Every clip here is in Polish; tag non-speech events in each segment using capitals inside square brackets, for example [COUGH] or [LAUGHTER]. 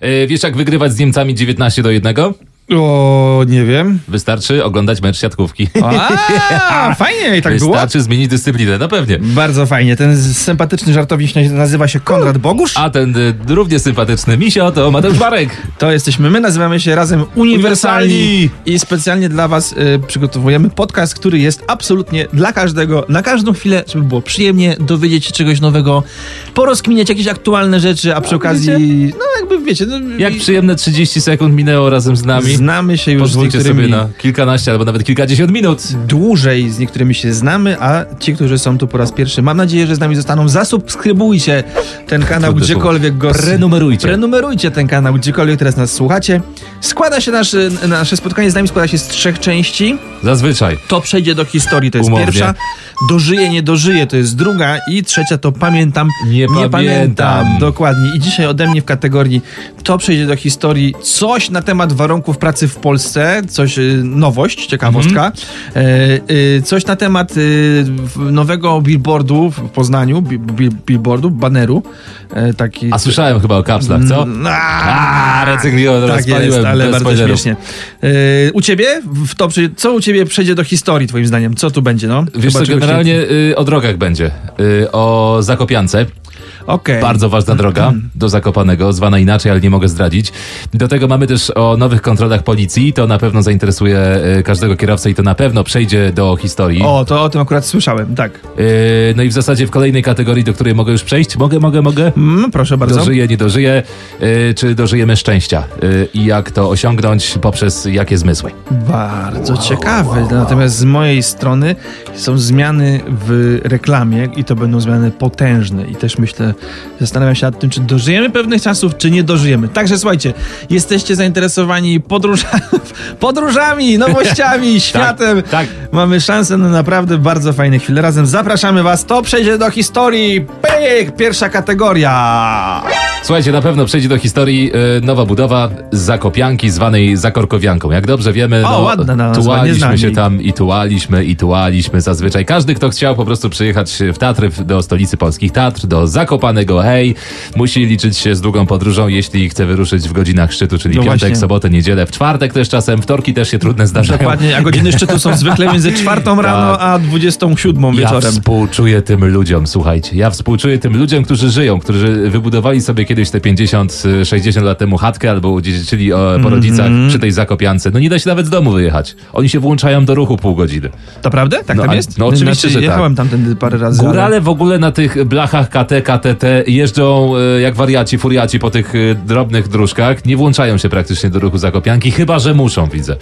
E, Wiesz, jak wygrywać z Niemcami 19 do 1? O, nie wiem. Wystarczy oglądać mecz siatkówki. [LAUGHS] A, fajnie i tak było. Wystarczy zmienić dyscyplinę, no pewnie. Bardzo fajnie. Ten z- sympatyczny żartownik nazywa się Konrad Bogusz. A ten y, równie sympatyczny misio to Mateusz Barek. To jesteśmy my, nazywamy się razem Uniwersalni. Uniwersalni. I specjalnie dla Was y, przygotowujemy podcast, który jest absolutnie dla każdego, na każdą chwilę, żeby było przyjemnie, dowiedzieć się czegoś nowego, porozkminiać jakieś aktualne rzeczy, a przy okazji, no jakby wiecie, no, Jak i- przyjemne 30 sekund minęło razem z nami. znamy się już z Pozwólcie sobie niektórymi na kilkanaście albo nawet kilkadziesiąt minut. dłużej, z niektórymi się znamy, a ci, którzy są tu po raz pierwszy, mam nadzieję, że z nami zostaną, zasubskrybujcie ten kanał, Trudne gdziekolwiek go... s- Prenumerujcie. Prenumerujcie ten kanał, gdziekolwiek teraz nas słuchacie. Składa się nasz, nasze spotkanie z nami składa się z trzech części. Zazwyczaj. To przejdzie do historii, to jest Umownie. pierwsza. Dożyje, nie dożyje, to jest druga. I trzecia to pamiętam, Nie pamiętam. Dokładnie. I dzisiaj ode mnie w kategorii to przejdzie do historii coś na temat warunków pracy w Polsce, coś, y, nowość, ciekawostka. Mhm. E, y, coś na temat y, w- nowego billboardu w Poznaniu, bi, bi, billboardu, baneru. E, taki... A słyszałem chyba o kapslach, co? A, A, recykliłem, Mm. tak jest, rozpaliłem. ale bez bardzo spoilerów. śmiesznie. Yy, u ciebie? W to, przy- co u ciebie przejdzie do historii, twoim zdaniem? Co tu będzie, no? Wiesz Chyba co, czegoś generalnie y, o drogach będzie. Y, o Zakopiance. nie- Okej. Bardzo ważna droga do Zakopanego, zwana inaczej, ale nie mogę zdradzić. Do tego mamy też o nowych kontrolach policji. To na pewno zainteresuje y, każdego kierowcę i to na pewno przejdzie do historii. O, to o tym akurat słyszałem, tak. Y, no i w zasadzie w kolejnej kategorii, do której mogę już przejść. Mogę, mogę, mogę. Mm, proszę bardzo. Dożyję, nie dożyję, y, czy dożyjemy szczęścia y, i jak to osiągnąć poprzez jakie zmysły. Bardzo ciekawe. Natomiast z mojej strony są zmiany w reklamie i to będą zmiany potężne. I też myślę, zastanawiam się nad tym, czy dożyjemy pewnych czasów, czy nie dożyjemy. Także słuchajcie, jesteście zainteresowani podróżami, [LAUGHS] podróżami nowościami, światem. tak. Mamy szansę na naprawdę bardzo fajne chwile. Razem zapraszamy Was. To przejdzie do historii. Pyk! Pierwsza kategoria. Słuchajcie, na pewno przejdzie do historii y, nowa budowa z Zakopianki, zwanej Zakorkowianką. Jak dobrze wiemy, O, no, ładna nazwa, nie znam tułaliśmy się jej. tam i tułaliśmy, i tułaliśmy zazwyczaj. Każdy, kto chciał po prostu przyjechać w Tatry, w- do stolicy polskich Tatr, do Zakopanego, hej, musi liczyć się z długą podróżą, jeśli chce wyruszyć w godzinach szczytu, czyli No piątek, właśnie. sobotę, niedzielę, w czwartek też czasem, wtorki też się trudne zdarzają. Dokładnie, a godziny szczytu są zwykle [LAUGHS] między czwartą rano a 27 Tak. Ja wieczorem. współczuję tym ludziom, słuchajcie. Ja współczuję tym ludziom, którzy żyją, którzy wybudowali sobie kiedyś te 50, y, 60 lat temu chatkę albo udziedziczyli e, po rodzicach przy tej zakopiance. No nie da się nawet z domu wyjechać. Oni się włączają do ruchu pół godziny. Naprawdę? Tak No, tam a- jest? no oczywiście, że tak. Jechałem tamtędy parę razy. ale- Górale w ogóle na tych blachach KT, KTT jeżdżą e, jak wariaci, furiaci po tych e, drobnych dróżkach. Nie włączają się praktycznie do ruchu zakopianki, chyba że muszą, widzę.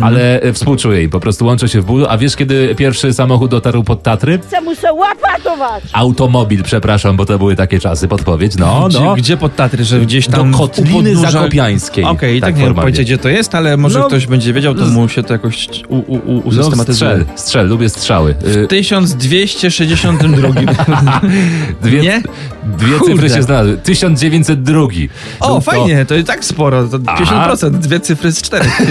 Ale e, współczuję im, po prostu łączę się w bólu. A wiesz, kiedy pierwszy samochód dotarł pod Tatry? Це мусив лопатувати. Automobil, przepraszam, bo to były takie czasy, podpowiedź. No, Gdzie, no. gdzie pod Tatry, że gdzieś tam... Do w- u Kotliny podnóża- Zakopiańskiej. Okej, i Tak tak, nie formalnie. powiecie, gdzie to jest, ale może No, ktoś będzie wiedział, to mu się to jakoś u, u, u, No, usystematyzuje. strzel, strzel, lubię strzały. W Y, 1262. [LAUGHS] Dwie, nie? dwie Kurde. cyfry się znalazły. 1902. O, Był to fajnie, to i tak sporo, to 50%, dwie cyfry z czterech.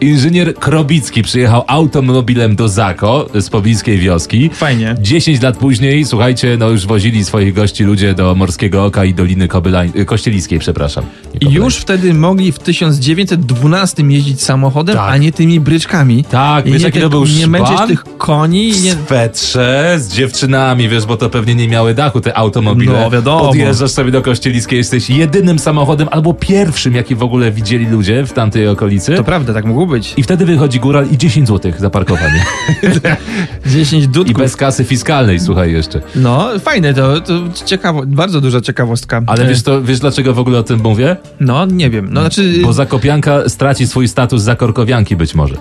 Inżynier Krobicki przyjechał automobilem do Zako z pobliskiej wioski. [LAUGHS] Fajnie. 10 lat później, słuchajcie, no już wozili swoich gości ludzie do Morskiego Oka i Doliny Kobylań, y, Kościeliskiej, przepraszam. Nie I Kobylań. już wtedy mogli w 1912 jeździć samochodem, Tak. a nie tymi bryczkami. Tak, I wiesz, nie, jaki te- to był Nie męczyć szban? tych koni i w nie... swetrze z dziewczynami, wiesz, bo to pewnie nie miały dachu te automobile. No, wiadomo. Podjeżdżasz sobie do Kościeliskiej, jesteś jedynym samochodem albo pierwszym, jaki w ogóle widzieli ludzie w tamtej okolicy. To prawda, tak mogło być. I wtedy wychodzi góral i 10 zł za parkowanie. 10 I dudków. bez kasy fiskalnej, słuchaj jeszcze. No, fajne, to, to ciekawo, bardzo duża ciekawostka. Ale E, wiesz, to, wiesz dlaczego w ogóle o tym mówię? No, nie wiem. No, znaczy, Bo zakopianka straci swój status zakorkowianki być może.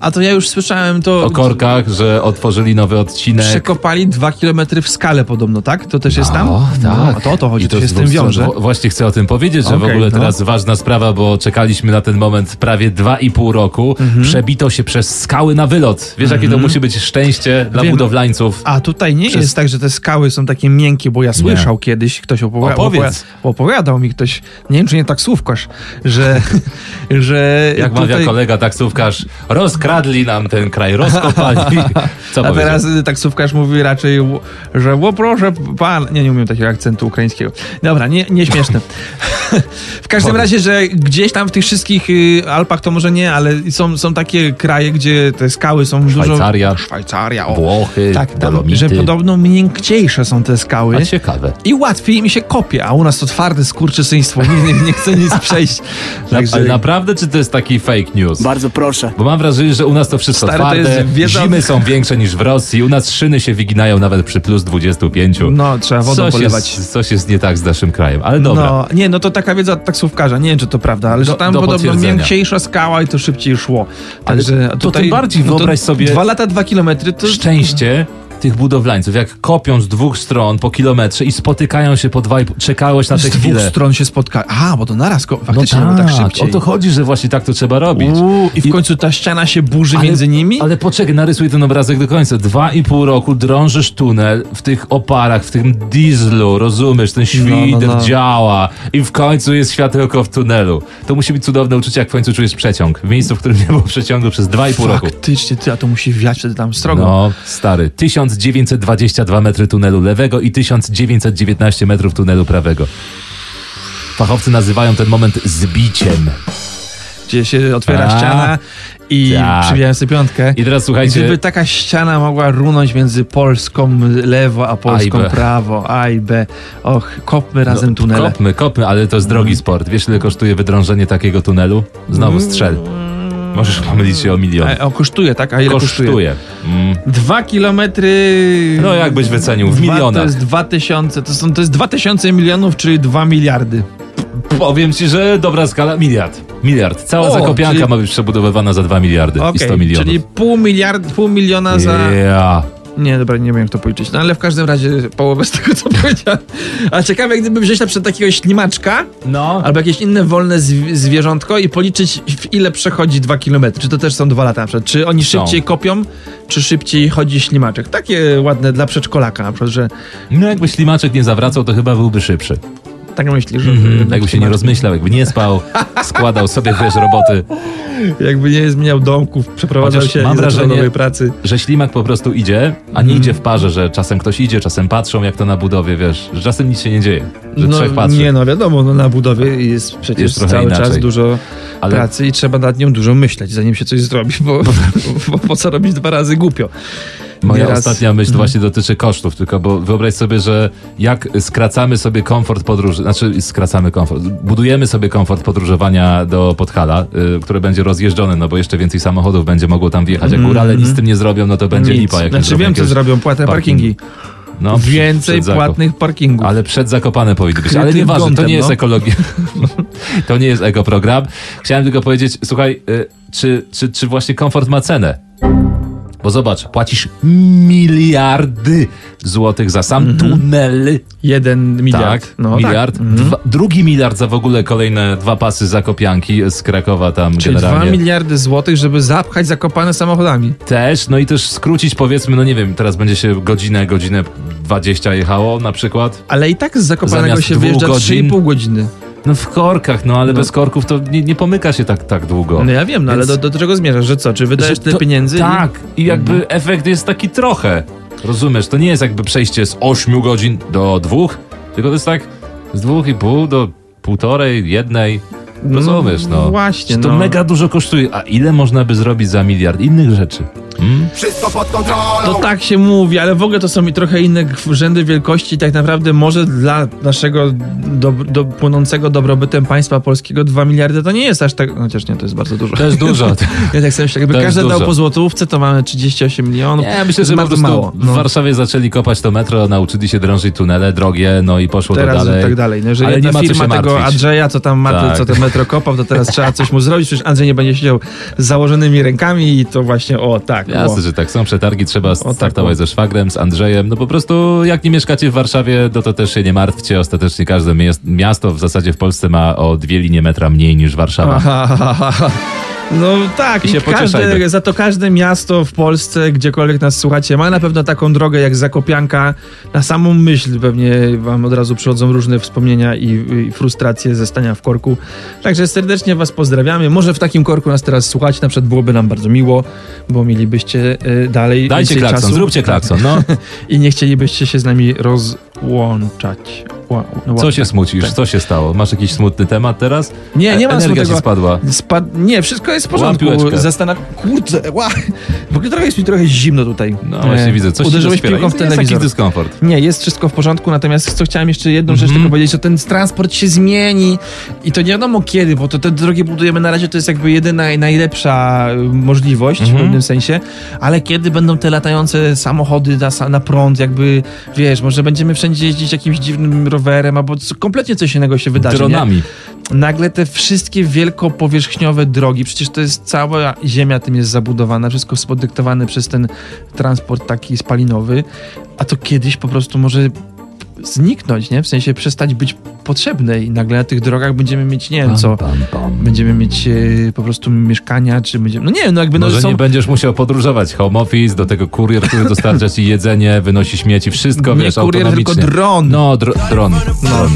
a to ja już słyszałem to... O korkach, że otworzyli nowy odcinek. Przekopali 2 km w skale podobno, tak? To też jest tam? O, tak. No, to o to chodzi, I to się z tym dwóch stron. wiąże. Wo- Właśnie chcę o tym powiedzieć, że w Okej, ogóle no. teraz ważna sprawa, bo czekaliśmy na ten moment prawie dwa i pół roku. Mhm. Przebito się przez skały na wylot. Wiesz, jakie to musi być szczęście dla Wiem. budowlańców. Mhm. A tutaj nie Przez- jest tak, że te skały są takie miękkie, bo ja słyszał kiedyś, ktoś opowi- Opowiedz. opowi- opowiadał mi ktoś, [LAUGHS] nie wiem czy nie taksówkarz, że... że Jak tutaj... mawia kolega taksówkarz, Okradli nam ten kraj, [LAUGHS] rozkopali. Co A powiedział? teraz y, taksówkarz mówi raczej, ł- że ło proszę pan. Nie, nie umiem takiego akcentu ukraińskiego. Dobra, nie, nieśmieszne. [LAUGHS] w każdym razie, że gdzieś tam w tych wszystkich y, Alpach to może nie, ale są, są takie kraje, gdzie te skały są Szwajcaria. dużo... Szwajcaria. o. Włochy, Tak, tam, Dolomity. że podobno miękciejsze są te skały. A ciekawe. I łatwiej mi się kopie, a u nas to twarde skurczysyństwo. [LAUGHS] Nie, nie, nie chce nic przejść. Także Ale naprawdę, czy to jest taki fake news? Bardzo proszę. Bo mam wrażenie, że u nas to wszystko Stary, to twarde, jest wiedza- zimy są większe niż w Rosji, u nas szyny się wyginają nawet przy plus 25. no, trzeba wodą coś, polewać. jest, coś jest nie tak z naszym krajem, ale dobra. No, nie, no to taka wiedza od taksówkarza, nie wiem czy to prawda, ale Do- że tam do podobno potwierdzenia. miększa skała i to szybciej szło. Także to tutaj, no tym bardziej to wyobraź sobie- Dwa lata, dwa kilometry to... Szczęście tych budowlańców, jak kopią z dwóch stron po kilometrze i spotykają się po dwa i pół- czekałeś na z te dwóch chwile. stron się spotka. Aha, bo to naraz ko- No faktycznie tak, bo tak szybciej. o to chodzi, że właśnie tak to trzeba robić. Uuu, I w końcu ta ściana się burzy Ale- między nimi? Ale poczekaj, narysuj ten obrazek do końca. Dwa i pół roku drążysz tunel w tych oparach, w tym dieslu, rozumiesz, ten świder no, no. działa i w końcu jest światełko w tunelu. To musi być cudowne uczucie, jak w końcu czujesz przeciąg. W miejscu, w którym nie było przeciągu przez dwa i pół roku. Faktycznie, ty, a to musi wiać wtedy tam strogo. No, stary. 1922 metry tunelu lewego i 1919 metrów tunelu prawego. Fachowcy nazywają ten moment zbiciem. Gdzie się otwiera A, ściana i tak. przybijają sobie piątkę. I teraz słuchajcie. Gdyby taka ściana mogła runąć między Polską lewo, a Polską A i B. No, prawo, A i B. Och, kopmy razem tunele. Mm. Kopmy, kopmy, ale to jest drogi sport. Wiesz, ile kosztuje wydrążenie takiego tunelu? Znowu strzel. Możesz pomylić się o milion. A, o, kosztuje, tak? A ile kosztuje? Kosztuje. Mm. Dwa kilometry... No, jakbyś wycenił? W Dwa- milionach. To jest dwa tysiące, to, są, to jest dwa tysiące milionów, czyli dwa miliardy. Powiem ci, że dobra skala. Miliard. Miliard. Cała O, zakopianka czyli- ma być przebudowywana za 2 miliardy i 100 Okej, milionów. czyli pół miliard, pół miliona za... Ja. Nie, dobra, nie wiem jak to policzyć, no ale w każdym razie połowę z tego, co [LAUGHS] powiedziałem. A ciekawe, gdyby wziąć na przykład takiego ślimaczka, No. Albo jakieś inne wolne zwi- zwierzątko i policzyć, w ile przechodzi 2 km. Czy to też są dwa lata na przykład? Czy oni Są. szybciej kopią, czy szybciej chodzi ślimaczek? Takie ładne dla przedszkolaka na przykład, że No jakby ślimaczek nie zawracał, to chyba byłby szybszy. tak myślisz, że... Mhm. że Jakby się nie ślimaczek- rozmyślał, jakby nie [LAUGHS] spał, składał sobie, wiesz, roboty. Jakby nie zmieniał domków, przeprowadzał Chociaż się mam mam wrażenie... wrażenie- nowej pracy. że ślimak po prostu idzie, a Mhm. nie idzie w parze, że czasem ktoś idzie, czasem patrzą jak to na budowie, wiesz, że czasem nic się nie dzieje, że no, trzech patrzy. Nie, no wiadomo, no, na budowie jest przecież Jest trochę cały inaczej. czas dużo Ale- pracy i trzeba nad nią dużo myśleć, zanim się coś zrobi, [LAUGHS] bo, bo po co robić dwa razy głupio. Moja Nieraz- Mhm. ostatnia myśl właśnie dotyczy kosztów, tylko bo wyobraź sobie, że jak skracamy sobie komfort podróży, znaczy skracamy komfort, budujemy sobie komfort podróżowania do Podhala, y, które będzie rozjeżdżone, no bo jeszcze więcej samochodów będzie mogło tam wjechać. Jak górale nic z tym nie zrobią, no to będzie Mhm, Nic. lipa. Jak nie Znaczy zrobią wiem, co jakiegoś zrobią, płatne parkingu. parkingi. No, przed- Więcej przed zakup. płatnych parkingów. Ale przed Zakopane powinny być. Ale Krytym nieważne, to kątem, nie jest no. ekologia. [LAUGHS] to nie jest ekoprogram. Chciałem tylko powiedzieć, słuchaj, y, czy, czy, czy właśnie komfort ma cenę? Bo zobacz, płacisz miliardy złotych za sam tunel. Jeden miliard. Tak, Mhm. no, miliard. Tak. Dwa, drugi miliard za w ogóle kolejne dwa pasy zakopianki z Krakowa tam Czyli generalnie. dwa miliardy złotych, żeby zapchać zakopane samochodami. Też, no i też skrócić powiedzmy, no nie wiem, teraz będzie się godzinę, godzinę 20 jechało na przykład. Ale i tak z zakopanego Zamiast się dwóch wyjeżdża godzin- 3,5 godziny. No w korkach, no ale bez korków to nie, nie pomyka się tak, tak długo. No ja wiem, no Więc- ale do, do czego zmierzasz? Że co? Czy wydajesz Że tyle to- pieniędzy? i- Mhm. Tak, i jakby efekt jest taki trochę. Rozumiesz, to nie jest jakby przejście z 8 godzin do dwóch, tylko to jest tak z dwóch i pół do półtorej, jednej. Rozumiesz, no. właśnie, Że To no. mega dużo kosztuje. A ile można by zrobić za miliard innych rzeczy? Mm? Wszystko pod kontrolą. To tak się mówi, ale w ogóle to są i trochę inne rzędy wielkości. Tak naprawdę może dla naszego do, do, płynącego dobrobytem państwa polskiego 2 miliardy to nie jest aż tak... Chociaż nie, to jest bardzo dużo. To jest [LAUGHS] dużo. Ja tak sobie myślę, jakby To jest każdy dał dużo. po złotówce, to mamy 38 milionów. Ja myślę, No, To że po jest prostu bardzo mało. no. w Warszawie zaczęli kopać to metro, nauczyli się drążyć tunele drogie, no i poszło teraz to dalej. tak dalej. No, jeżeli Ale jedna nie ma co firma się tego martwić. Andrzeja, co tam ma, Tak. to, co ten metro kopał, to teraz trzeba coś mu zrobić, przecież Andrzej nie będzie siedział z założonymi rękami i to właśnie o tak. Jasne, że tak. Są przetargi, trzeba tak, startować o. ze szwagrem, z Andrzejem. No po prostu, jak nie mieszkacie w Warszawie, no to też się nie martwcie. Ostatecznie każde mies- miasto w zasadzie w Polsce ma o dwie linie metra mniej niż Warszawa. bo... [LAUGHS] No tak, I i się pocieszajmy. każde, za to każde miasto w Polsce, gdziekolwiek nas słuchacie, ma na pewno taką drogę jak Zakopianka. Na samą myśl pewnie wam od razu przychodzą różne wspomnienia i, i frustracje ze stania w korku. Także serdecznie was pozdrawiamy. Może w takim korku nas teraz słuchać, na przykład byłoby nam bardzo miło, bo mielibyście y, dalej Dajcie więcej klakson, czasu. Tak. zróbcie klakson. [LAUGHS] No, I nie chcielibyście się z nami rozłączać. Ła- ła- co się smucisz? Co się stało? Masz jakiś smutny temat teraz? Nie, nie ma Energia smutnego. się spadła. Spad... Nie, wszystko jest w Łap porządku. piłeczkę. Zastanaw... Kurczę, ła. W ogóle trochę jest mi trochę zimno tutaj. No E, właśnie widzę, coś Uderzyłeś się rozpiera. piłką w Jest jakiś telewizor. dyskomfort. Nie, jest wszystko w porządku, natomiast co chciałem jeszcze jedną rzecz Mhm. tylko powiedzieć, że ten transport się zmieni i to nie wiadomo kiedy, bo to te drogi budujemy na razie, to jest jakby jedyna i najlepsza y, możliwość w Mhm. pewnym sensie, ale kiedy będą te latające samochody na, sa- na prąd, jakby, wiesz, może będziemy wszędzie jeździć jakimś dziwnym rowerem, albo co- kompletnie coś innego się wydarzy, nie? Dronami. nagle te wszystkie wielkopowierzchniowe drogi, przecież to jest cała ziemia tym jest zabudowana, wszystko spodyktowane przez ten transport taki spalinowy, a to kiedyś po prostu może zniknąć, nie? W sensie przestać być potrzebne i nagle na tych drogach będziemy mieć, nie wiem co, Pam, pam, pam. będziemy mieć e, po prostu mieszkania, czy będziemy, no nie wiem, no jakby no Może są... nie będziesz musiał podróżować. Home office, do tego kurier, który dostarcza ci jedzenie, wynosi śmieci, wszystko, nie wiesz, kurier, tylko autonomicznie. dron. No, dr dron. dron.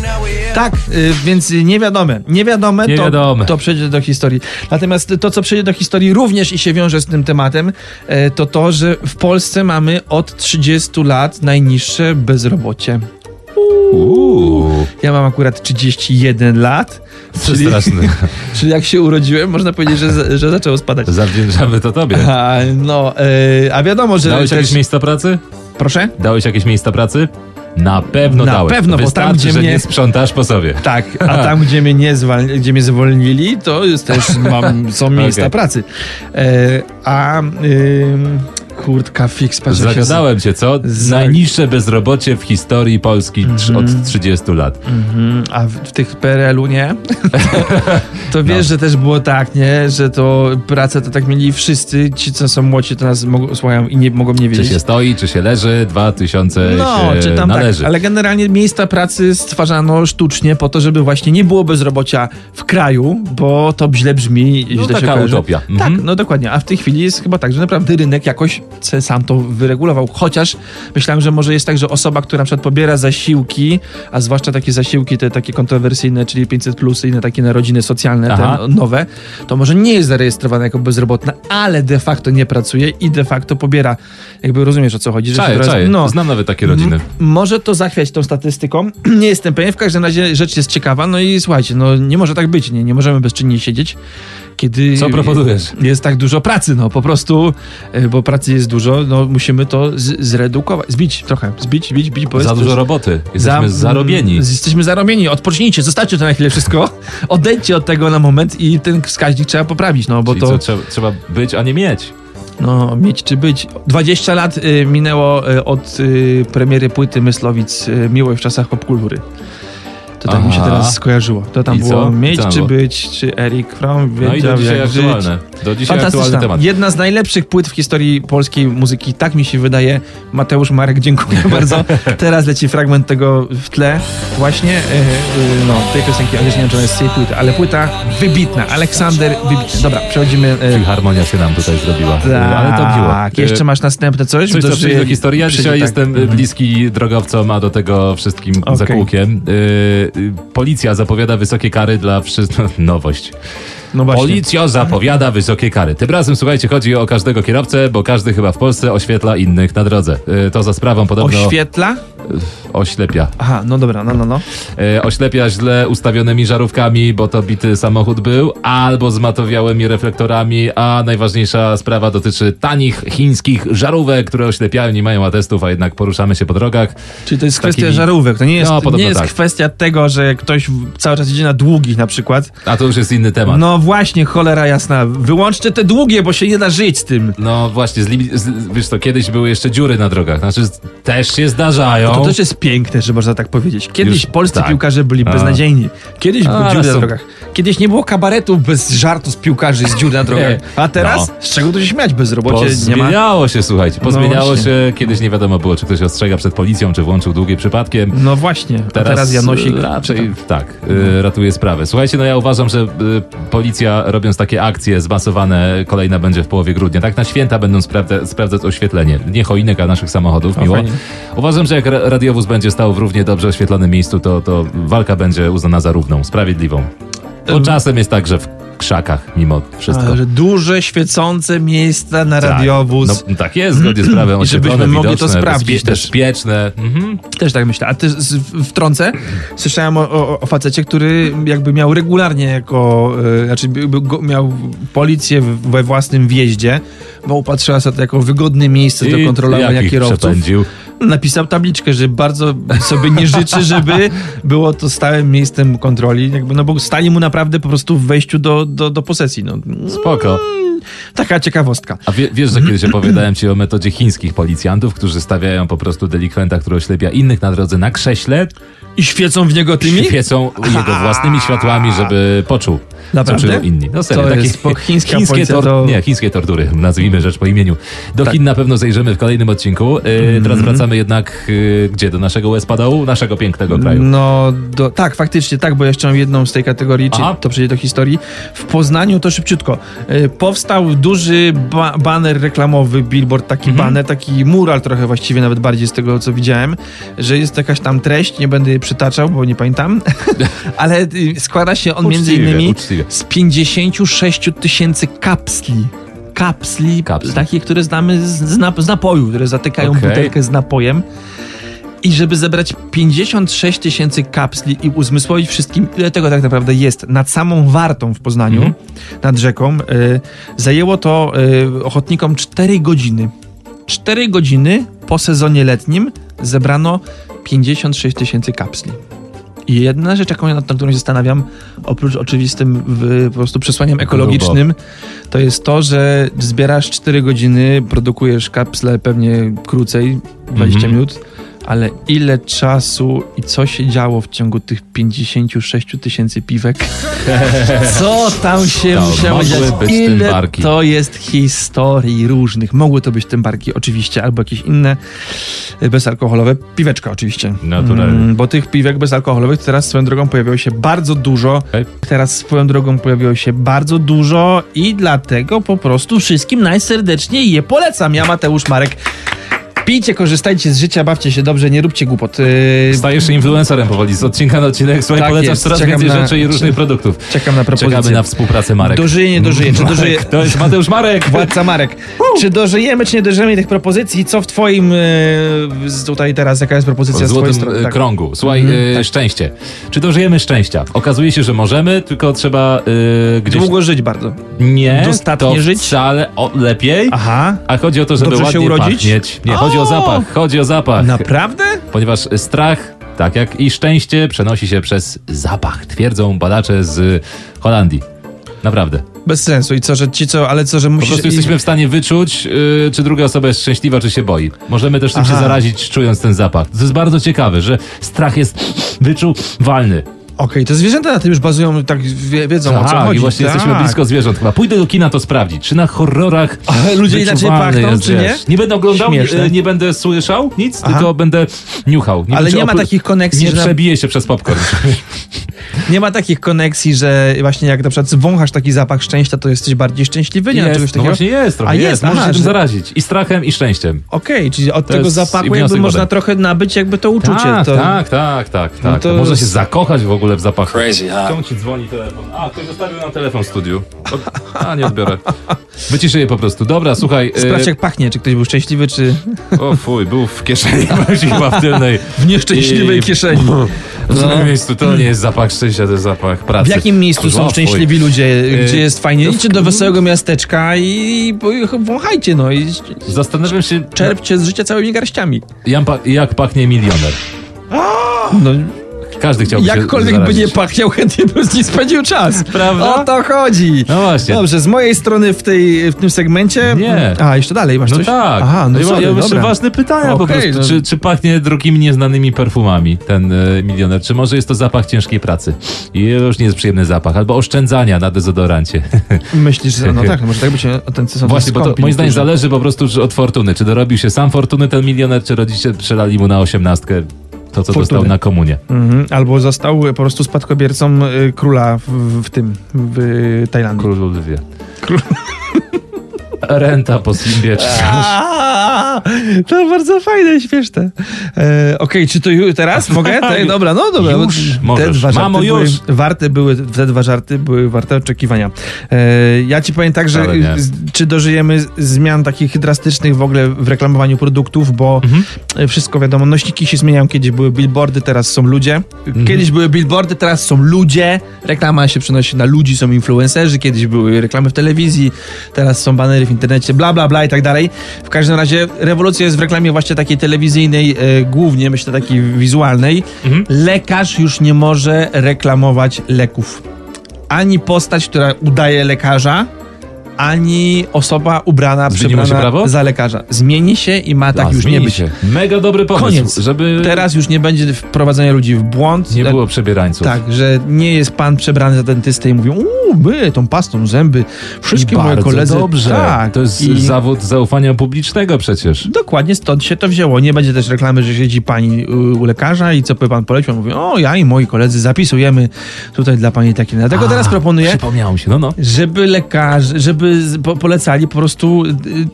Tak, y, więc niewiadome. Niewiadome, to, Niewiadome. to przejdzie do historii. Natomiast to, co przejdzie do historii również i się wiąże z tym tematem, e, to to, że w Polsce mamy od 30 lat najniższe bezrobocie. Uuu, Ja mam akurat 31 lat, czyli, straszny. czyli jak się urodziłem, można powiedzieć, że, za- że zaczęło spadać. Zawdzięczamy to tobie. A, no, e, a wiadomo, że... Dałeś też- jakieś miejsca pracy? Proszę? Dałeś jakieś miejsca pracy? Na pewno Na dałeś. pewno, bo tam, Wystarczy, gdzie że mnie- nie sprzątasz po sobie. Tak, a tam, gdzie mnie, nie zwal- gdzie mnie zwolnili, to jest też [LAUGHS] mam, są miejsca Okej. pracy. E, a ym, kurtka fix, patrz, jak się z- Zagadałem cię, co? z- Najniższe bezrobocie w historii Polski trz- od 30 lat. Mhm, a w, w tych PRL-u [LAUGHS] nie? to No. wiesz, że też było tak, nie? Że to pracę to tak mieli wszyscy, ci co są młodzi to nas mogą, słuchają i nie mogą nie Czy wiedzieć. się stoi, czy się leży, dwa tysiące No, się czy tam należy. tak, ale generalnie miejsca pracy stwarzano sztucznie po to, żeby właśnie nie było bezrobocia w kraju, bo to źle brzmi i No, źle się taka kojarzy. utopia. Tak, Mhm. no dokładnie, a w tej chwili jest chyba tak, że naprawdę rynek jakoś se sam to wyregulował, chociaż myślałem, że może jest tak, że osoba, która na przykład pobiera zasiłki, a zwłaszcza takie zasiłki te takie kontrowersyjne, czyli 500 plus i inne takie narodziny socjalne, Aha. te nowe, to może nie jest zarejestrowana jako bezrobotna, ale de facto nie pracuje i de facto pobiera, jakby rozumiesz o co chodzi, że się Czaję, teraz- czaję. no, Znam nawet takie rodziny. M- Może to zachwiać tą statystyką. [CLEARS THROAT] Nie jestem pewien, w każdym razie rzecz jest ciekawa. No i słuchajcie, no nie może tak być, nie, nie możemy bezczynnie siedzieć, kiedy... Co proponujesz? Jest tak dużo pracy, no po prostu, e, bo pracy jest dużo, no musimy to z- zredukować, zbić trochę, zbić, bić, bić, bo Za jest dużo roboty. Jesteśmy zarobieni. z- Jesteśmy zarobieni, odpocznijcie, zostawcie to na chwilę wszystko, [LAUGHS] odejdźcie od tego na moment i ten wskaźnik trzeba poprawić, no bo Bo to... co, to... trzeba, trzeba być, a nie mieć. No, mieć czy być. 20 lat y, minęło y, od y, premiery płyty Myslowic y, Miłość w czasach popkultury. To tak mi się Aha. teraz skojarzyło. To tam I było co? I mieć co tam czy było? być, czy Erik Fromm No i wiedział do dzisiaj jak żyć. aktualne. Do dzisiaj aktualny Fantastyczna. temat. Jedna z najlepszych płyt w historii polskiej muzyki, tak mi się wydaje. Mateusz Marek, [LAUGHS] dziękuję bardzo. Teraz leci fragment tego w tle. Właśnie, y, y, no, tej piosenki, chociaż nie wiem, czy ona jest z tej płyty, ale płyta wybitna. Aleksander wybitny. Dobra, przechodzimy... y, Filharmonia się nam tutaj zrobiła. Ale to tak, miło. jeszcze E, masz następne coś? Coś, Bo co to przyjdzie do żyje- historii. Ja przyjdzie, dzisiaj tak. jestem y, bliski drogowcom, a do tego wszystkim Okej. zakółkiem. Y, y, policja zapowiada wysokie kary dla wszystkich. [LAUGHS] Nowość. No właśnie. Policja zapowiada wysokie kary. Tym razem, słuchajcie, chodzi o każdego kierowcę, bo każdy chyba w Polsce oświetla innych na drodze. Y, to za sprawą podobno Oświetla? oślepia. Aha, no dobra, no, no, no. E, oślepia źle ustawionymi żarówkami, bo to bity samochód był, albo zmatowiałymi reflektorami, a najważniejsza sprawa dotyczy tanich chińskich żarówek, które oślepiają, nie mają atestów, a jednak poruszamy się po drogach. Czyli to jest Takimi- kwestia żarówek. To nie jest, No, podobno nie jest tak. kwestia tego, że ktoś w- cały czas idzie na długich na przykład. A to już jest inny temat. No. No właśnie, cholera jasna. Wyłączcie te długie, bo się nie da żyć z tym. No właśnie, z, lim- z, wiesz to, kiedyś były jeszcze dziury na drogach, znaczy z- też się zdarzają. No To też jest piękne, że można tak powiedzieć. Kiedyś No. Już- polscy tak. piłkarze byli A. beznadziejni. Kiedyś A, były dziury na są- drogach. Kiedyś nie było kabaretów bez żartu z piłkarzy z dziur na drogach. A teraz? No. Z czego tu się śmiać? Bezrobocie nie ma. No Pozmieniało się, słuchajcie, pozmieniało właśnie. się, kiedyś nie wiadomo było, czy ktoś ostrzega przed policją, czy włączył długie przypadkiem. No e, właśnie, teraz, a teraz Janosik. Raczej tak, y, ratuje sprawę. Słuchajcie, no ja uważam, że y, policja, robiąc takie akcje zmasowane, kolejna będzie w połowie grudnia. Tak na święta będą sprawdza, sprawdzać oświetlenie. Nie choinek, a naszych samochodów, O, miło. fajnie. Uważam, że jak ra- radiowóz będzie stał w równie dobrze oświetlonym miejscu, to, to walka będzie uznana za równą, sprawiedliwą. Bo Em. czasem jest tak, że w krzakach mimo wszystko. A, że duże, świecące miejsca na Tak. radiowóz. No, tak jest, zgodnie [CLEARS THROAT] z prawem I żebyśmy oświetlone, mogli to widoczne, sprawdzić bezpie- też. bezpieczne. Mhm. Też tak myślę. A ty z- w- wtrącę, słyszałem o, o, o facecie, który jakby miał regularnie jako, y, znaczy by- by go, miał policję w- we własnym wjeździe, bo upatrzyła sobie to jako wygodne miejsce do I jak kontrolowania ich kierowców. przepędził. Napisał tabliczkę, że bardzo sobie nie życzy, żeby było to stałym miejscem kontroli, jakby, no bo stanie mu naprawdę po prostu w wejściu do, do, do posesji. No. Spoko. Taka ciekawostka. A wie, wiesz, że kiedyś opowiadałem ci o metodzie chińskich policjantów, którzy stawiają po prostu delikwenta, który oślepia innych na drodze na krześle, I świecą w niego tymi? świecą jego własnymi światłami, żeby poczuł, co Naprawdę? czują inni. No serio, To takie jest po- chińska chińskie, policja to- Tak. Nie, chińskie tortury, nazwijmy rzecz po imieniu. Do Chin na pewno zajrzymy w kolejnym odcinku. Mhm. Yy, teraz wracamy jednak, yy, gdzie? Do naszego Westpadału, naszego pięknego kraju. No, do, tak, faktycznie tak, bo jeszcze mam jedną z tej kategorii, czy Aha. to przejdzie do historii. W Poznaniu, to szybciutko, y, powstał duży ba- baner reklamowy, billboard, taki Mhm. baner, taki mural trochę właściwie, nawet bardziej z tego, co widziałem, że jest jakaś tam treść, nie będę jej przytaczał, bo nie pamiętam, [LAUGHS] ale y, składa się on między Uczciwie, innymi uczciwie. z 56 000 tysięcy kapsli. Kapsli, Kapsli. takie, które znamy z, z, nap- z napoju, które zatykają Okej. butelkę z napojem. I żeby zebrać 56 tysięcy kapsli i uzmysłowić wszystkim, ile tego tak naprawdę jest nad samą wartą w Poznaniu, Mhm. nad rzeką, y, zajęło to y, ochotnikom 4 godziny. 4 godziny po sezonie letnim zebrano 56 tysięcy kapsli. I jedna rzecz, jaką ja nad nad którą się zastanawiam, oprócz oczywistym w, po prostu przesłaniem ekologicznym, to jest to, że zbierasz 4 godziny, produkujesz kapsle pewnie krócej, 20 Mhm. minut, ale ile czasu i co się działo w ciągu tych 56 tysięcy piwek? Co tam się To musiało mogły dziać? być Ile tymbarki. to jest historii różnych. Mogły to być tymbarki oczywiście, albo jakieś inne y, bezalkoholowe piweczka oczywiście. Naturalnie. Mm, bo tych piwek bezalkoholowych teraz swoją drogą pojawiło się bardzo dużo. Ej. Teraz swoją drogą pojawiło się bardzo dużo i dlatego po prostu wszystkim najserdeczniej je polecam. Ja Mateusz Marek. Pijcie, korzystajcie z życia, bawcie się dobrze, nie róbcie głupot. Yy, Stajesz się influencerem powoli z odcinka na odcinek. Słuchaj, Tak polecasz jest, coraz czekam więcej na- rzeczy i różnych produktów. Czekam na Czekamy na propozycję. współpracę Marek. Dożyje, No, nie dożyje. Czy dożyje... [LAUGHS] To jest Mateusz [LAUGHS] Marek. Władca Marek. Czy dożyjemy, czy nie dożyjemy tych propozycji? Co w twoim... Yy, z- tutaj teraz, jaka jest propozycja W z twojej złotym strony? e, Tak. krągu. Słuchaj, e, szczęście. Czy dożyjemy szczęścia? Okazuje się, że możemy, tylko trzeba e, gdzieś... Długo żyć bardzo. nie, dostatnie to żyć? wcale o, lepiej. Aha. A chodzi o to, żeby Dobrze się ładnie urodzić? pachnieć. Nie, chodzi o O! zapach. Chodzi o zapach. Naprawdę? Ponieważ strach, tak jak i szczęście, przenosi się przez zapach. Twierdzą badacze z Holandii. Naprawdę. Bez sensu. I co, że ci co, ale co, że Po musisz... prostu i- jesteśmy w stanie wyczuć, y, czy druga osoba jest szczęśliwa, czy się boi. Możemy też tym się Aha. zarazić, czując ten zapach. To jest bardzo ciekawe, że strach jest wyczuwalny. Okej, to zwierzęta na tym już bazują, tak wie, wiedzą o co Tak, chodzi. i właśnie tak. jesteśmy blisko zwierząt chyba. Pójdę do kina to sprawdzić, czy na horrorach Ale ludzie inaczej wyczuwalny pachną, czy nie? wiesz. Nie będę oglądał, nie, Śmieszne. nie będę słyszał nic, Aha. tylko będę niuchał. Ale wiem, czy nie ma oprócz- takich koneksji, Nie że na- przebiję się przez popcorn. Nie ma takich koneksji, że właśnie jak na przykład wąchasz taki zapach szczęścia, [LAUGHS] to jesteś bardziej szczęśliwy, nie? jest, Czegoś no takiego. właśnie jest trochę. A jest, jest, można aha, się tym że- zarazić. I strachem, i szczęściem. Okej, czyli od To tego jest zapachów i jakby wniosek można potem. trochę nabyć jakby to uczucie. tak, to... No tak, tak, tak, tak. to- Można się zakochać w ogóle w zapachu. Crazy, huh? Czemu ci dzwoni telefon? A, ktoś zostawił nam telefon w studiu. O- A, nie odbiorę. Wyciszę je po prostu. Dobra, słuchaj. e, Sprawdź jak pachnie, czy ktoś był szczęśliwy, czy... O fuj, był w kieszeni, [LAUGHS] bardziej chyba w tylnej. W nieszczęśliwej I- kieszeni. No. W tym miejscu to nie jest zapach szczęścia, to jest zapach W pracy. jakim miejscu O, są fuj. szczęśliwi ludzie, Yy, gdzie jest fajnie? Idźcie do wesołego miasteczka i bo- wąchajcie, no i Zastanawiam się, czerpcie z życia całymi garściami. jak pa- jak pachnie milioner. No, Każdy chciałby się jakkolwiek by zarazić. nie pachniał, chętnie bym z nim spędził czas. Prawda? O to chodzi. No właśnie. Dobrze, z mojej strony w, tej, w tym segmencie... Nie. A, jeszcze dalej masz No coś? tak. Aha, no ja, sorry, ja mam jeszcze dobra. ważne pytania po Okej, prostu. no. Czy, czy pachnie drugimi nieznanymi perfumami ten e, milioner? Czy może jest to zapach ciężkiej pracy? I już nie jest przyjemny zapach. Albo oszczędzania na dezodorancie. Myślisz, że no tak, może tak być a ten [LAUGHS] są Właśnie, bo to skąpi moim zdaniem niektórzy. zależy po prostu że od fortuny. Czy dorobił się sam fortuny ten milioner, czy rodzice przelali mu na osiemnastkę. to, co Fortuny. dostał na komunie. Mhm. Albo został po prostu spadkobiercą y, króla w, w tym, w y, Tajlandii. Król [LAUGHS] wie. Renta po Simbie. czy coś. Aaa, To bardzo fajne, śmieszne. E, Okej, czy to ju- [LAUGHS] teraz mogę? Tak, dobra, no dobra. Już możesz. Mamo, były, już. Warte były, te dwa żarty były warte oczekiwania. E, ja ci powiem tak, że Ale nie. z, czy dożyjemy z- zmian takich drastycznych w ogóle w reklamowaniu produktów, bo Mhm. e, wszystko wiadomo, nośniki się zmieniają. Kiedyś były billboardy, teraz są ludzie. Mhm. Kiedyś były billboardy, teraz są ludzie. Reklama się przenosi na ludzi, są influencerzy. Kiedyś były reklamy w telewizji, teraz są banery w internecie, bla, bla, bla i tak dalej. W każdym razie rewolucja jest w reklamie właśnie takiej telewizyjnej, e, głównie myślę takiej wizualnej. Mhm. Lekarz już nie może reklamować leków. Ani postać, która udaje lekarza, ani osoba ubrana, Zmieniło się przebrana prawo? za lekarza. Zmieni się i ma [LAUGHS] tak A, już nie zmieni być. się. Mega dobry pomysł, Koniec. żeby Teraz już nie będzie wprowadzania ludzi w błąd. nie Le- było przebierańców. tak, że nie jest pan przebrany za dentystę i mówią, uuu, my tą pastą zęby, wszystkie I moje bardzo koledzy. dobrze. Tak, to jest i zawód zaufania publicznego przecież. Dokładnie stąd się to wzięło. Nie będzie też reklamy, że siedzi pani y, u lekarza i co by pan polecił. Mówi, o ja i moi koledzy zapisujemy tutaj dla pani takie. Dlatego A, teraz proponuję, Przypomniało mi się, no no. żeby lekarze, żeby z- po, polecali po prostu y,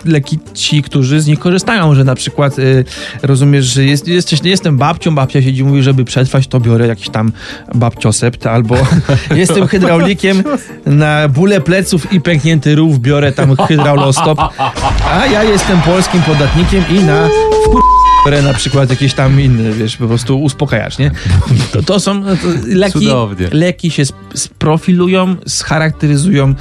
leki ci, którzy z nich korzystają, że na przykład y, rozumiesz, że jest, jesteś, nie jestem babcią, babcia siedzi i mówi, żeby przetrwać, to biorę jakiś tam [LAUGHS] babciosept, albo jestem hydraulikiem na bóle pleców i pęknięty rów, biorę tam hydraulostop, a ja jestem polskim podatnikiem i na wkur- na przykład jakieś tam inne, wiesz, po prostu uspokajasz, nie? To, to są to leki, Cudownie. leki się sp- sprofilują, scharakteryzują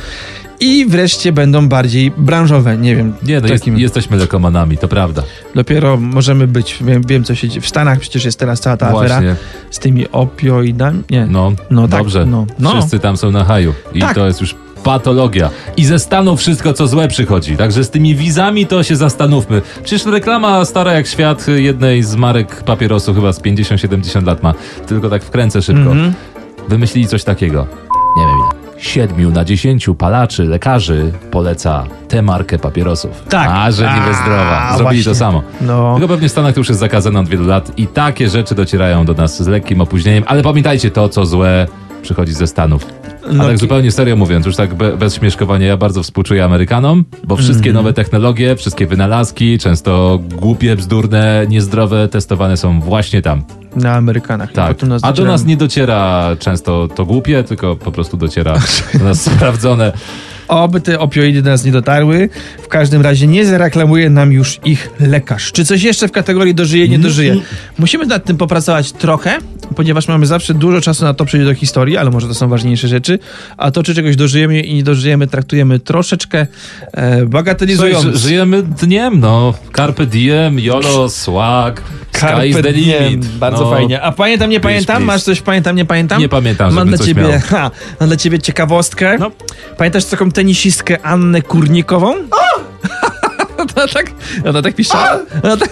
i wreszcie będą bardziej branżowe. Nie wiem, Nie, no jest, takim. jesteśmy lekomanami, to prawda. dopiero możemy być. Wiem, wiem, co się dzieje. W Stanach przecież jest Tak. teraz cała ta afera Właśnie, z tymi opioidami. Nie. No, no, tak. dobrze. No, no. Wszyscy tam są na haju i Tak. to jest już patologia. I ze Stanów wszystko, co złe przychodzi. Także z tymi wizami to się zastanówmy. Przecież reklama stara jak świat y, jednej z marek papierosu chyba z 50-70 lat ma. Tylko tak wkręcę szybko. Mhm. Wymyślili coś takiego. Nie wiem ile. Siedmiu na dziesięciu palaczy, lekarzy poleca tę markę papierosów. Tak. A, że niby A, zdrowa. Zrobili właśnie. to samo. No. Tylko pewnie w Stanach to już jest zakazane od wielu lat i takie rzeczy docierają do nas z lekkim opóźnieniem, ale pamiętajcie, to co złe przychodzi ze Stanów. A No, tak ki- zupełnie serio mówiąc, już tak be, bez śmieszkowania, ja bardzo współczuję Amerykanom, bo wszystkie Mhm. nowe technologie, wszystkie wynalazki, często głupie, bzdurne, niezdrowe, testowane są właśnie tam. Na Amerykanach. No, Tak. Potem nas A do zaczynają- nas nie dociera często to głupie, tylko po prostu dociera do [LAUGHS] nas sprawdzone. No Oby te opioidy do nas nie dotarły. W każdym razie nie zareklamuje nam już ich lekarz. Czy coś jeszcze w kategorii dożyje, Mhm. nie dożyje? Musimy nad tym popracować trochę, ponieważ mamy zawsze dużo czasu na to przejść do historii, ale może to są ważniejsze rzeczy. A to, czy czegoś dożyjemy i nie dożyjemy, traktujemy troszeczkę e, Słuchaj, bagatelizując. ży- żyjemy dniem, no. Carpe diem, YOLO, swag, sky is the Carpe diem. limit. Bardzo no. fajnie. A pamiętam, nie Please, pamiętam? please. Masz coś pamiętam, nie pamiętam? Nie pamiętam, Mam żebym dla, coś ciebie, miał. ha, mam dla ciebie ciekawostkę. No. Pamiętasz taką tenisistkę Annę Kurnikową? [LAUGHS] Ona tak, ona tak pisała. Ona tak,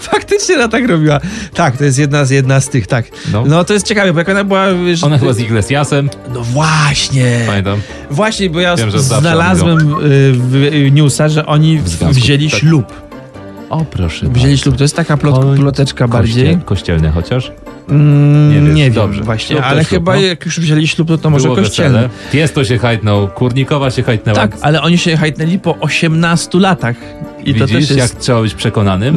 faktycznie ona tak robiła. Tak, to jest jedna z, jedna z tych, tak. [LAUGHS] No. No. to jest ciekawe, bo jak ona była... Wiesz, y, Ona chyba z Iglesiasem, No właśnie. pamiętam. Właśnie, bo ja Wiem, że zawsze znalazłem y, w, y, newsa, że oni w związku, wzięli tak. ślub. O, proszę Wzięli bardzo. ślub, to jest taka plot, Koń- ploteczka bardziej. Kościel, kościelny chociaż. Mm, Nie wiesz, nie wiem, dobrze. właśnie, Ślub to ale ślub, chyba no. jak już wzięli ślub, to, to może Było kościelny. wesele. Pies to się hajtnął, Kurnikowa się hajtnęła. Tak, ale oni się hajtnęli po 18 latach. I Widzisz, to też jak jest. trzeba być [LAUGHS] przekonanym?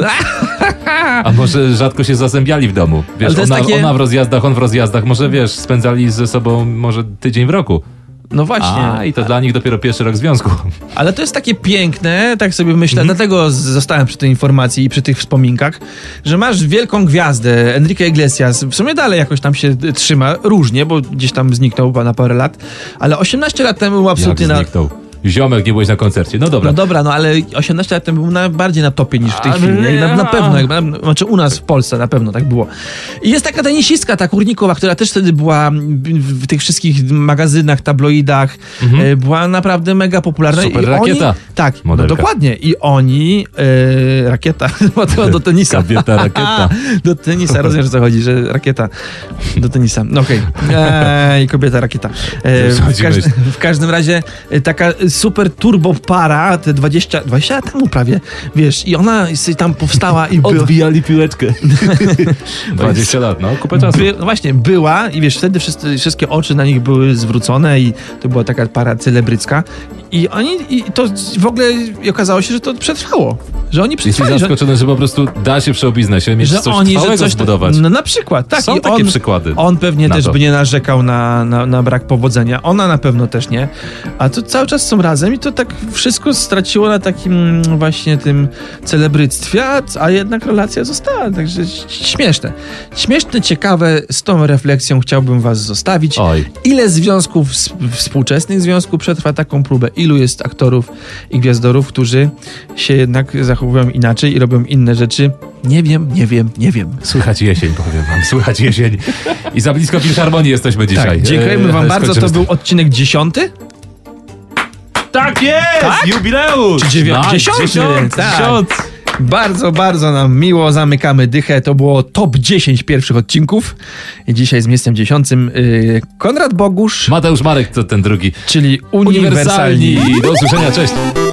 A może rzadko się zazębiali w domu? Wiesz, Ale to jest ona, takie- ona w rozjazdach, on w rozjazdach. Może, wiesz, spędzali ze sobą może tydzień w roku. No właśnie. A, i to dla nich dopiero pierwszy rok związku. Ale to jest takie piękne, tak sobie myślę, Mhm. dlatego z- zostałem przy tej informacji i przy tych wspominkach, że masz wielką gwiazdę, Enrique Iglesias, w sumie dalej jakoś tam się y, trzyma, różnie, bo gdzieś tam zniknął na parę lat, ale 18 lat temu był Jak absolutnie na... zniknął. Ziomek, nie byłeś na koncercie. No dobra. No dobra, no ale 18 lat temu był na, bardziej na topie niż w tej Ale chwili. nie? I Na, na ja- pewno, jak, na, znaczy u nas w Polsce na pewno tak było. I jest taka tenisistka, ta Kurnikowa, która też wtedy była mm, w w tych wszystkich magazynach, tabloidach. Mhm. E, była naprawdę mega popularna. Super I rakieta. Oni, tak, no Modelka. dokładnie. I oni, e, rakieta, [LAUGHS] do, do tenisa. Kobieta [LAUGHS] rakieta. do [LAUGHS] tenisa, rozumiesz o co chodzi, że rakieta do tenisa. No okej. Eee, I kobieta rakieta. Eee, w, Zasadziłeś. każdy, w każdym razie e, taka e, super turbo para te 20, 20 lat temu prawie, wiesz, i ona sobie tam powstała i była... Odbijali [LAUGHS] piłeczkę. 20 lat, no, kupę czasu. By, no właśnie, była i wiesz, wtedy wszyscy, wszystkie oczy na nich były zwrócone i to była taka para celebrycka i oni, i to w ogóle i okazało się, że to przetrwało, że oni Jesteś przetrwali, że, zaskoczony, że po prostu da się w show biznesie mieć no- że coś oni, że trwałego coś... zbudować. No na przykład, tak. Są i takie on, przykłady. On pewnie na też to. by nie narzekał na, na, na brak powodzenia. Ona na pewno też nie. A to cały czas są razem i to tak wszystko straciło na takim właśnie tym celebryctwie, a, a jednak relacja została. Także ś- śmieszne. Śmieszne, ciekawe. Z tą refleksją chciałbym was zostawić. Oj, Ile związków, s- współczesnych związków przetrwa taką próbę? Ilu jest aktorów i gwiazdorów, którzy się jednak zachowują inaczej i robią inne rzeczy? Nie wiem, nie wiem, nie wiem. słychać jesień, powiem wam, słychać jesień. I za blisko Filharmonii jesteśmy dzisiaj. Tak, dziękujemy E, wam ale bardzo. To skończymy z był tym. odcinek dziesiąty? Tak jest! Jubileusz! Czy dziewią- Tak, dziesiąty? dziesiąty, tak. Bardzo, bardzo nam miło. Zamykamy dychę. To było top 10 pierwszych odcinków. I dzisiaj z miejscem dziesiątym yy, Konrad Bogusz, Mateusz Marek to ten drugi. czyli Uniwersalni. Uniwersalni. Do usłyszenia, cześć.